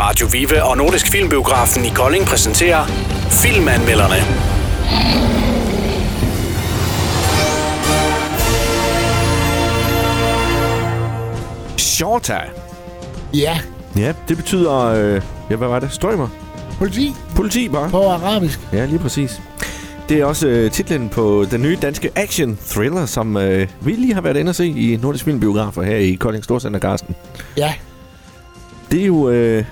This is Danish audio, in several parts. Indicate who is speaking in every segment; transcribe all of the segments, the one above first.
Speaker 1: Radio Vive og Nordisk Filmbiografen i Kolding præsenterer Filmanmelderne.
Speaker 2: Shorta.
Speaker 3: Ja,
Speaker 2: Ja, det betyder... Øh, ja, hvad var det? Strømmer?
Speaker 3: politi
Speaker 2: Politi bare?
Speaker 3: på arabisk.
Speaker 2: Ja, lige præcis. Det er også øh, titlen på den nye danske action-thriller, som øh, vi lige har været inde og se i Nordisk Filmbiografer her i Kolding Storcenter, Karsten.
Speaker 3: Ja,
Speaker 2: Det er jo... Øh,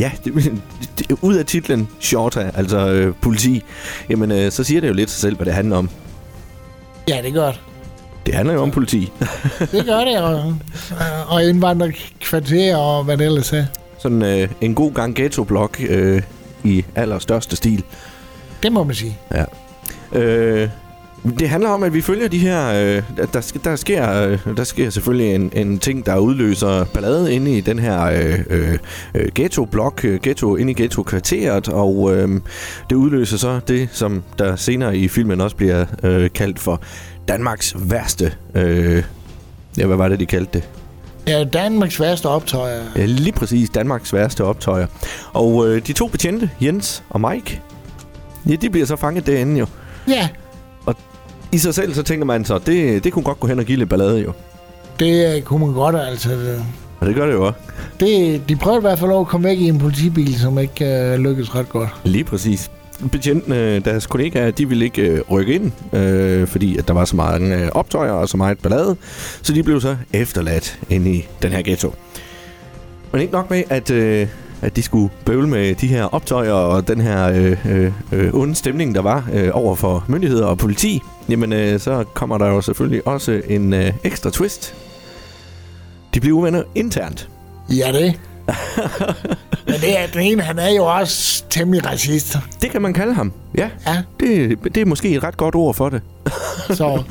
Speaker 2: ja, det, det, ud af titlen Shorta, altså øh, politi, jamen øh, så siger det jo lidt sig selv, hvad det handler om.
Speaker 3: ja det gør det.
Speaker 2: Det handler jo om politi.
Speaker 3: Det gør det, og, øh, og indvandrerkvarter og hvad det ellers er.
Speaker 2: Sådan øh, en god gang ghetto-blok øh, i allerstørste stil.
Speaker 3: Det må man sige.
Speaker 2: Øh, det handler om, at vi følger de her... Øh, der- der, sk- der, sker, øh, der sker selvfølgelig en, en ting, der udløser ballade inde i den her øh, øh, øh, ghetto-blok, øh, ghetto, inde i ghetto-kvarteret, og øh, det udløser så det, som der senere i filmen også bliver øh, kaldt for Danmarks værste... Øh, ja, hvad var det, de kaldte det?
Speaker 3: Ja, Danmarks værste optøjer.
Speaker 2: Ja, lige præcis Danmarks værste optøjer. Og øh, de to betjente, Jens og Mike, ja, de bliver så fanget derinde jo.
Speaker 3: Ja,
Speaker 2: i sig selv, så tænker man så, det, det kunne godt gå hen og give lidt ballade jo.
Speaker 3: det øh, kunne man godt, altså.
Speaker 2: Og det gør det jo også.
Speaker 3: Det, de prøvede i hvert fald at komme væk i en politibil, som ikke øh, lykkedes ret godt.
Speaker 2: Lige præcis. Betjentene, deres kollegaer, de ville ikke øh, rykke ind, øh, fordi at der var så mange øh, optøjer og så meget ballade. Så de blev så efterladt inde i den her ghetto. Men ikke nok med, at, øh, at de skulle bøvle med de her optøjer og den her øh, øh, øh, onde stemning, der var øh, over for myndigheder og politi. Jamen, øh, så kommer der jo selvfølgelig også en øh, ekstra twist. De bliver uvenner internt.
Speaker 3: Ja, det. Men det er den ene, han er jo også temmelig racist.
Speaker 2: Det kan man kalde ham. Ja,
Speaker 3: Ja,
Speaker 2: det, det er måske et ret godt ord for det.
Speaker 3: så...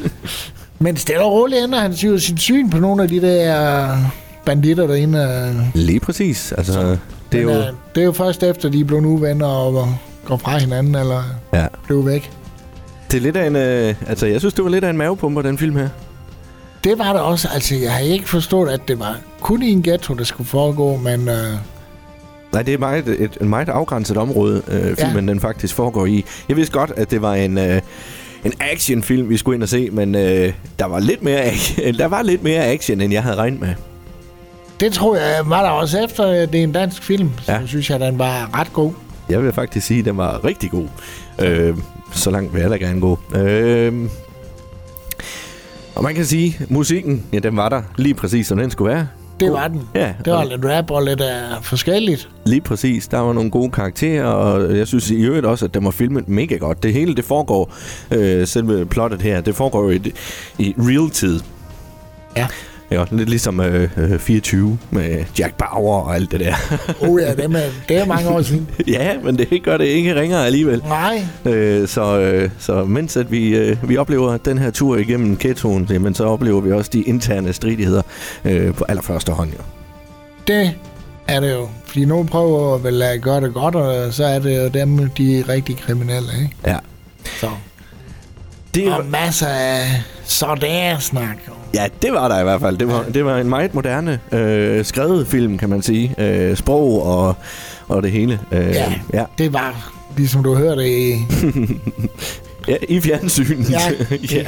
Speaker 3: Men stille og roligt ændrer han jo sit syn på nogle af de der øh, banditter derinde. øh.
Speaker 2: Lige præcis. Altså, det er
Speaker 3: Men,
Speaker 2: jo...
Speaker 3: øh, det er jo først efter, de er blevet uvenner og og går fra hinanden, eller
Speaker 2: Ja.
Speaker 3: blev væk.
Speaker 2: Det er lidt af en... Øh, altså, jeg synes, det var lidt af en mavepumper, den film her.
Speaker 3: Det var det også. Altså, jeg har ikke forstået, at det var kun i en ghetto, der skulle foregå, men øh,
Speaker 2: Nej, det er meget, et, et meget afgrænset område, øh, filmen den faktisk foregår i. Jeg vidste godt, at det var en, øh, en actionfilm, vi skulle ind og se, men øh, der, var lidt mere action, der var lidt mere action, end jeg havde regnet med.
Speaker 3: det tror jeg var der også efter, at det er en dansk film. Så
Speaker 2: Ja.
Speaker 3: synes jeg, den var ret god.
Speaker 2: Jeg vil faktisk sige, at den var rigtig god. Øh, så langt vil jeg da gerne gå. Øh, og man kan sige, at musikken, ja, den var der lige præcis, som den skulle være.
Speaker 3: Det var den.
Speaker 2: Ja,
Speaker 3: Det var
Speaker 2: og-
Speaker 3: lidt rap og lidt uh, forskelligt.
Speaker 2: Lige præcis. Der var nogle gode karakterer, og jeg synes i øvrigt også, at den var filmet mega godt. Det hele, det foregår, øh, selve plottet her, det foregår jo i, i real-tid.
Speaker 3: Ja.
Speaker 2: Ja, lidt ligesom øh, øh, 24 med Jack Bauer og alt det der.
Speaker 3: Oh ja, det er, det er mange år siden.
Speaker 2: ja, men det gør det ikke ringere alligevel.
Speaker 3: Nej,
Speaker 2: Øh, så, øh, så mens at vi, øh, vi oplever den her tur igennem ghettoen, jamen, så oplever vi også de interne stridigheder øh, på allerførste hånd. Jo.
Speaker 3: det er det jo. Fordi nogen prøver vel at gøre det godt, og så er det jo dem, de er rigtig kriminelle, ikke?
Speaker 2: Ja.
Speaker 3: Så.
Speaker 2: Det,
Speaker 3: Og masser af sådan-snak.
Speaker 2: Ja, det var der i hvert fald. Det var, det var en meget moderne øh, skrevet film, kan man sige. Øh, sprog og, og det hele. Øh,
Speaker 3: Ja.
Speaker 2: ja.
Speaker 3: Det var, ligesom du hørte i...
Speaker 2: ja. I fjernsynet.
Speaker 3: Ja.
Speaker 2: ja.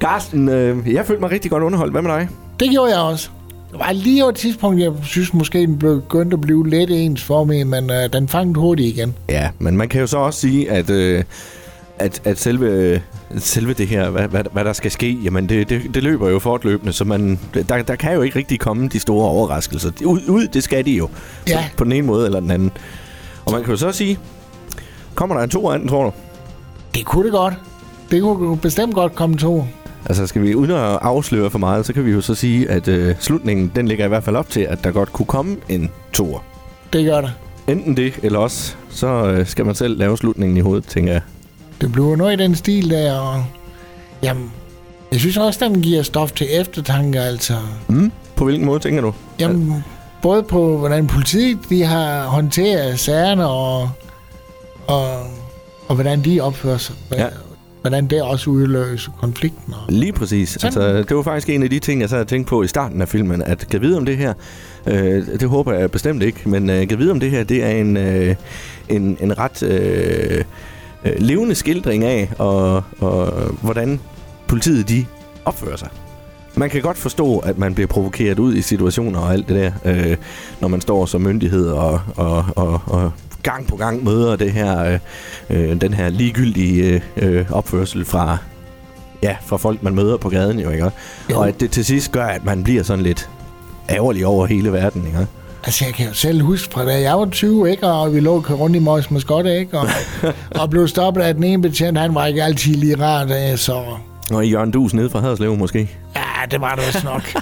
Speaker 2: Carsten, øh, jeg følte mig rigtig godt underholdt. Hvad med dig?
Speaker 3: Det gjorde jeg også. Det var lige over et tidspunkt, jeg synes måske, den begyndte at blive lidt ens for mig, men øh, den fangede hurtigt igen.
Speaker 2: Ja, men man kan jo så også sige, at... Øh, at, at selve, selve det her, hvad, hvad, hvad der skal ske, jamen det, det, det løber jo fortløbende, så man, der, der kan jo ikke rigtig komme de store overraskelser. Ud, ud det skal de jo.
Speaker 3: Ja.
Speaker 2: På den ene måde eller den anden. Og man kan jo så sige, kommer der en to af den, tror du?
Speaker 3: Det kunne det godt. Det kunne bestemt godt komme to.
Speaker 2: Altså skal vi, uden at afsløre for meget, så kan vi jo så sige, at øh, slutningen, den ligger i hvert fald op til, at der godt kunne komme en toer.
Speaker 3: Det gør det.
Speaker 2: Enten det, eller også, så øh, skal man selv lave slutningen i hovedet, tænker jeg.
Speaker 3: Det bliver noget i den stil der, og... Jamen, jeg synes også, den giver stof til eftertanke, altså.
Speaker 2: Mm. På hvilken måde tænker du?
Speaker 3: Jamen, både på, hvordan politiet de har håndteret sagerne, og, og, og hvordan de opfører sig.
Speaker 2: Ja.
Speaker 3: hvordan det også udløser konflikten. Og...
Speaker 2: Lige præcis.
Speaker 3: Sådan.
Speaker 2: Altså, det var faktisk en af de ting, jeg sad og tænkte på i starten af filmen, at kan vide om det her, øh, det håber jeg bestemt ikke, men øh, kan vide om det her, det er en, øh, en, en ret øh, øh, levende skildring af, og, og hvordan politiet de opfører sig. Man kan godt forstå, at man bliver provokeret ud i situationer og alt det der, øh, når man står som myndighed og, og, og, og gang på gang møder det her, øh, øh, den her ligegyldige øh, øh, opførsel fra, ja, fra folk, man møder på gaden, jo, ikke?
Speaker 3: Jo.
Speaker 2: Jo. Og at det til sidst gør, at man bliver sådan lidt ærgerlig over hele verden, ikke?
Speaker 3: Altså, jeg kan jo selv huske fra da jeg var 20, ikke? Og vi lå og kørte rundt i Møjs Maskotte, ikke? Og, og blev stoppet af den ene betjent, han var ikke altid lige rar, da, så...
Speaker 2: Og i Jørgen Dus nede fra Haderslev måske.
Speaker 3: Ja, det var det vist nok.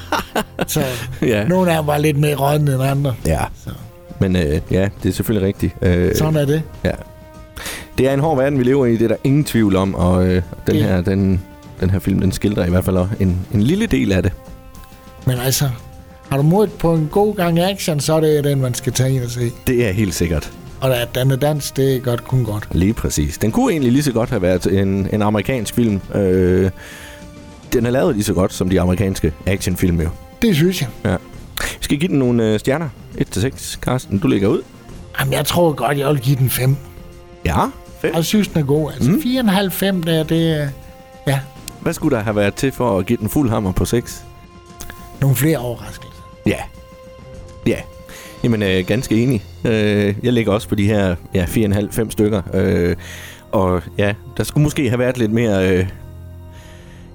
Speaker 3: så
Speaker 2: Ja.
Speaker 3: nogle af dem var lidt mere rådne end andre.
Speaker 2: Ja.
Speaker 3: Så.
Speaker 2: Men øh, ja, det er selvfølgelig rigtigt. Øh,
Speaker 3: Sådan er det.
Speaker 2: ja. Det er en hård verden, vi lever i, det er der ingen tvivl om, og øh, den,
Speaker 3: Det-
Speaker 2: her, den, den her film, den skildrer i hvert fald en, en lille del af det.
Speaker 3: Men altså, har du mod på en god gang action, så er det den, man skal tage ind og se.
Speaker 2: Det er helt sikkert.
Speaker 3: Og at den er dansk, det er godt kun godt.
Speaker 2: Lige præcis. Den kunne egentlig lige så godt have været en, en amerikansk film. Øh, den er lavet lige så godt som de amerikanske actionfilm jo.
Speaker 3: Det synes jeg.
Speaker 2: Vi skal give den nogle øh, stjerner. 1-6. Carsten, du ligger ud.
Speaker 3: Jamen, jeg tror godt, jeg vil give den 5.
Speaker 2: Ja. Fedt.
Speaker 3: Jeg synes, den er god. Altså,
Speaker 2: Mm.
Speaker 3: 4,5-5 der, det er ja,
Speaker 2: Hvad skulle der have været til for at give den fuld hammer på 6?
Speaker 3: nogle flere overraskelser.
Speaker 2: Ja. Ja. Jamen, øh, ganske enig. Øh, jeg ligger også på de her ja, 4,5-5 stykker. Øh, og ja, der skulle måske have været lidt mere... Øh,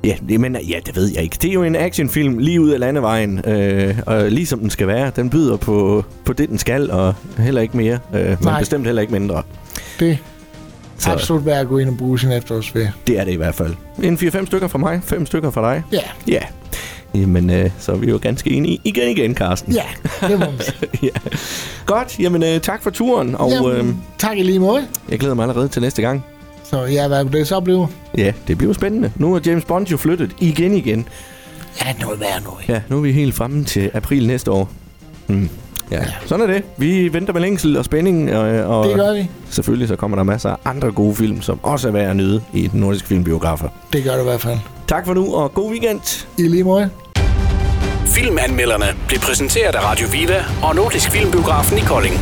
Speaker 2: ja, det, men, ja, det ved jeg ikke. Det er jo en actionfilm lige ud af landevejen. Øh, og ligesom den skal være. Den byder på, på det, den skal, og heller ikke mere. Øh, men
Speaker 3: Nej.
Speaker 2: bestemt heller ikke mindre.
Speaker 3: Det
Speaker 2: Så-
Speaker 3: er absolut værd at gå ind og bruge sin efterårsferie.
Speaker 2: Det er det i hvert fald. En 4-5 stykker fra mig, 5 stykker fra dig.
Speaker 3: Ja,
Speaker 2: Ja. Jamen, øh, så er vi jo ganske enige igen igen, Carsten.
Speaker 3: ja, det må man sige.
Speaker 2: ja. Godt, jamen øh, tak for turen, og øh,
Speaker 3: Jamen, tak i lige måde.
Speaker 2: jeg glæder mig allerede til næste gang.
Speaker 3: Så ja, hvad det så blive?
Speaker 2: Ja, det bliver spændende. Nu er James Bond jo flyttet igen igen.
Speaker 3: Ja, noget værd noget.
Speaker 2: Ja, nu er vi helt fremme til april næste år. Mm. Ja, sådan er det. Vi venter med længsel og spænding, og, øh, og
Speaker 3: Det gør vi.
Speaker 2: selvfølgelig så kommer der masser af andre gode film, som også er værd at nyde i den nordiske filmbiografer.
Speaker 3: Det gør det i hvert fald.
Speaker 2: Tak for nu, og god weekend!
Speaker 3: I lige måde.
Speaker 1: Filmanmelderne blev præsenteret af Radio Viva og Nordisk Filmbiografen i Kolding.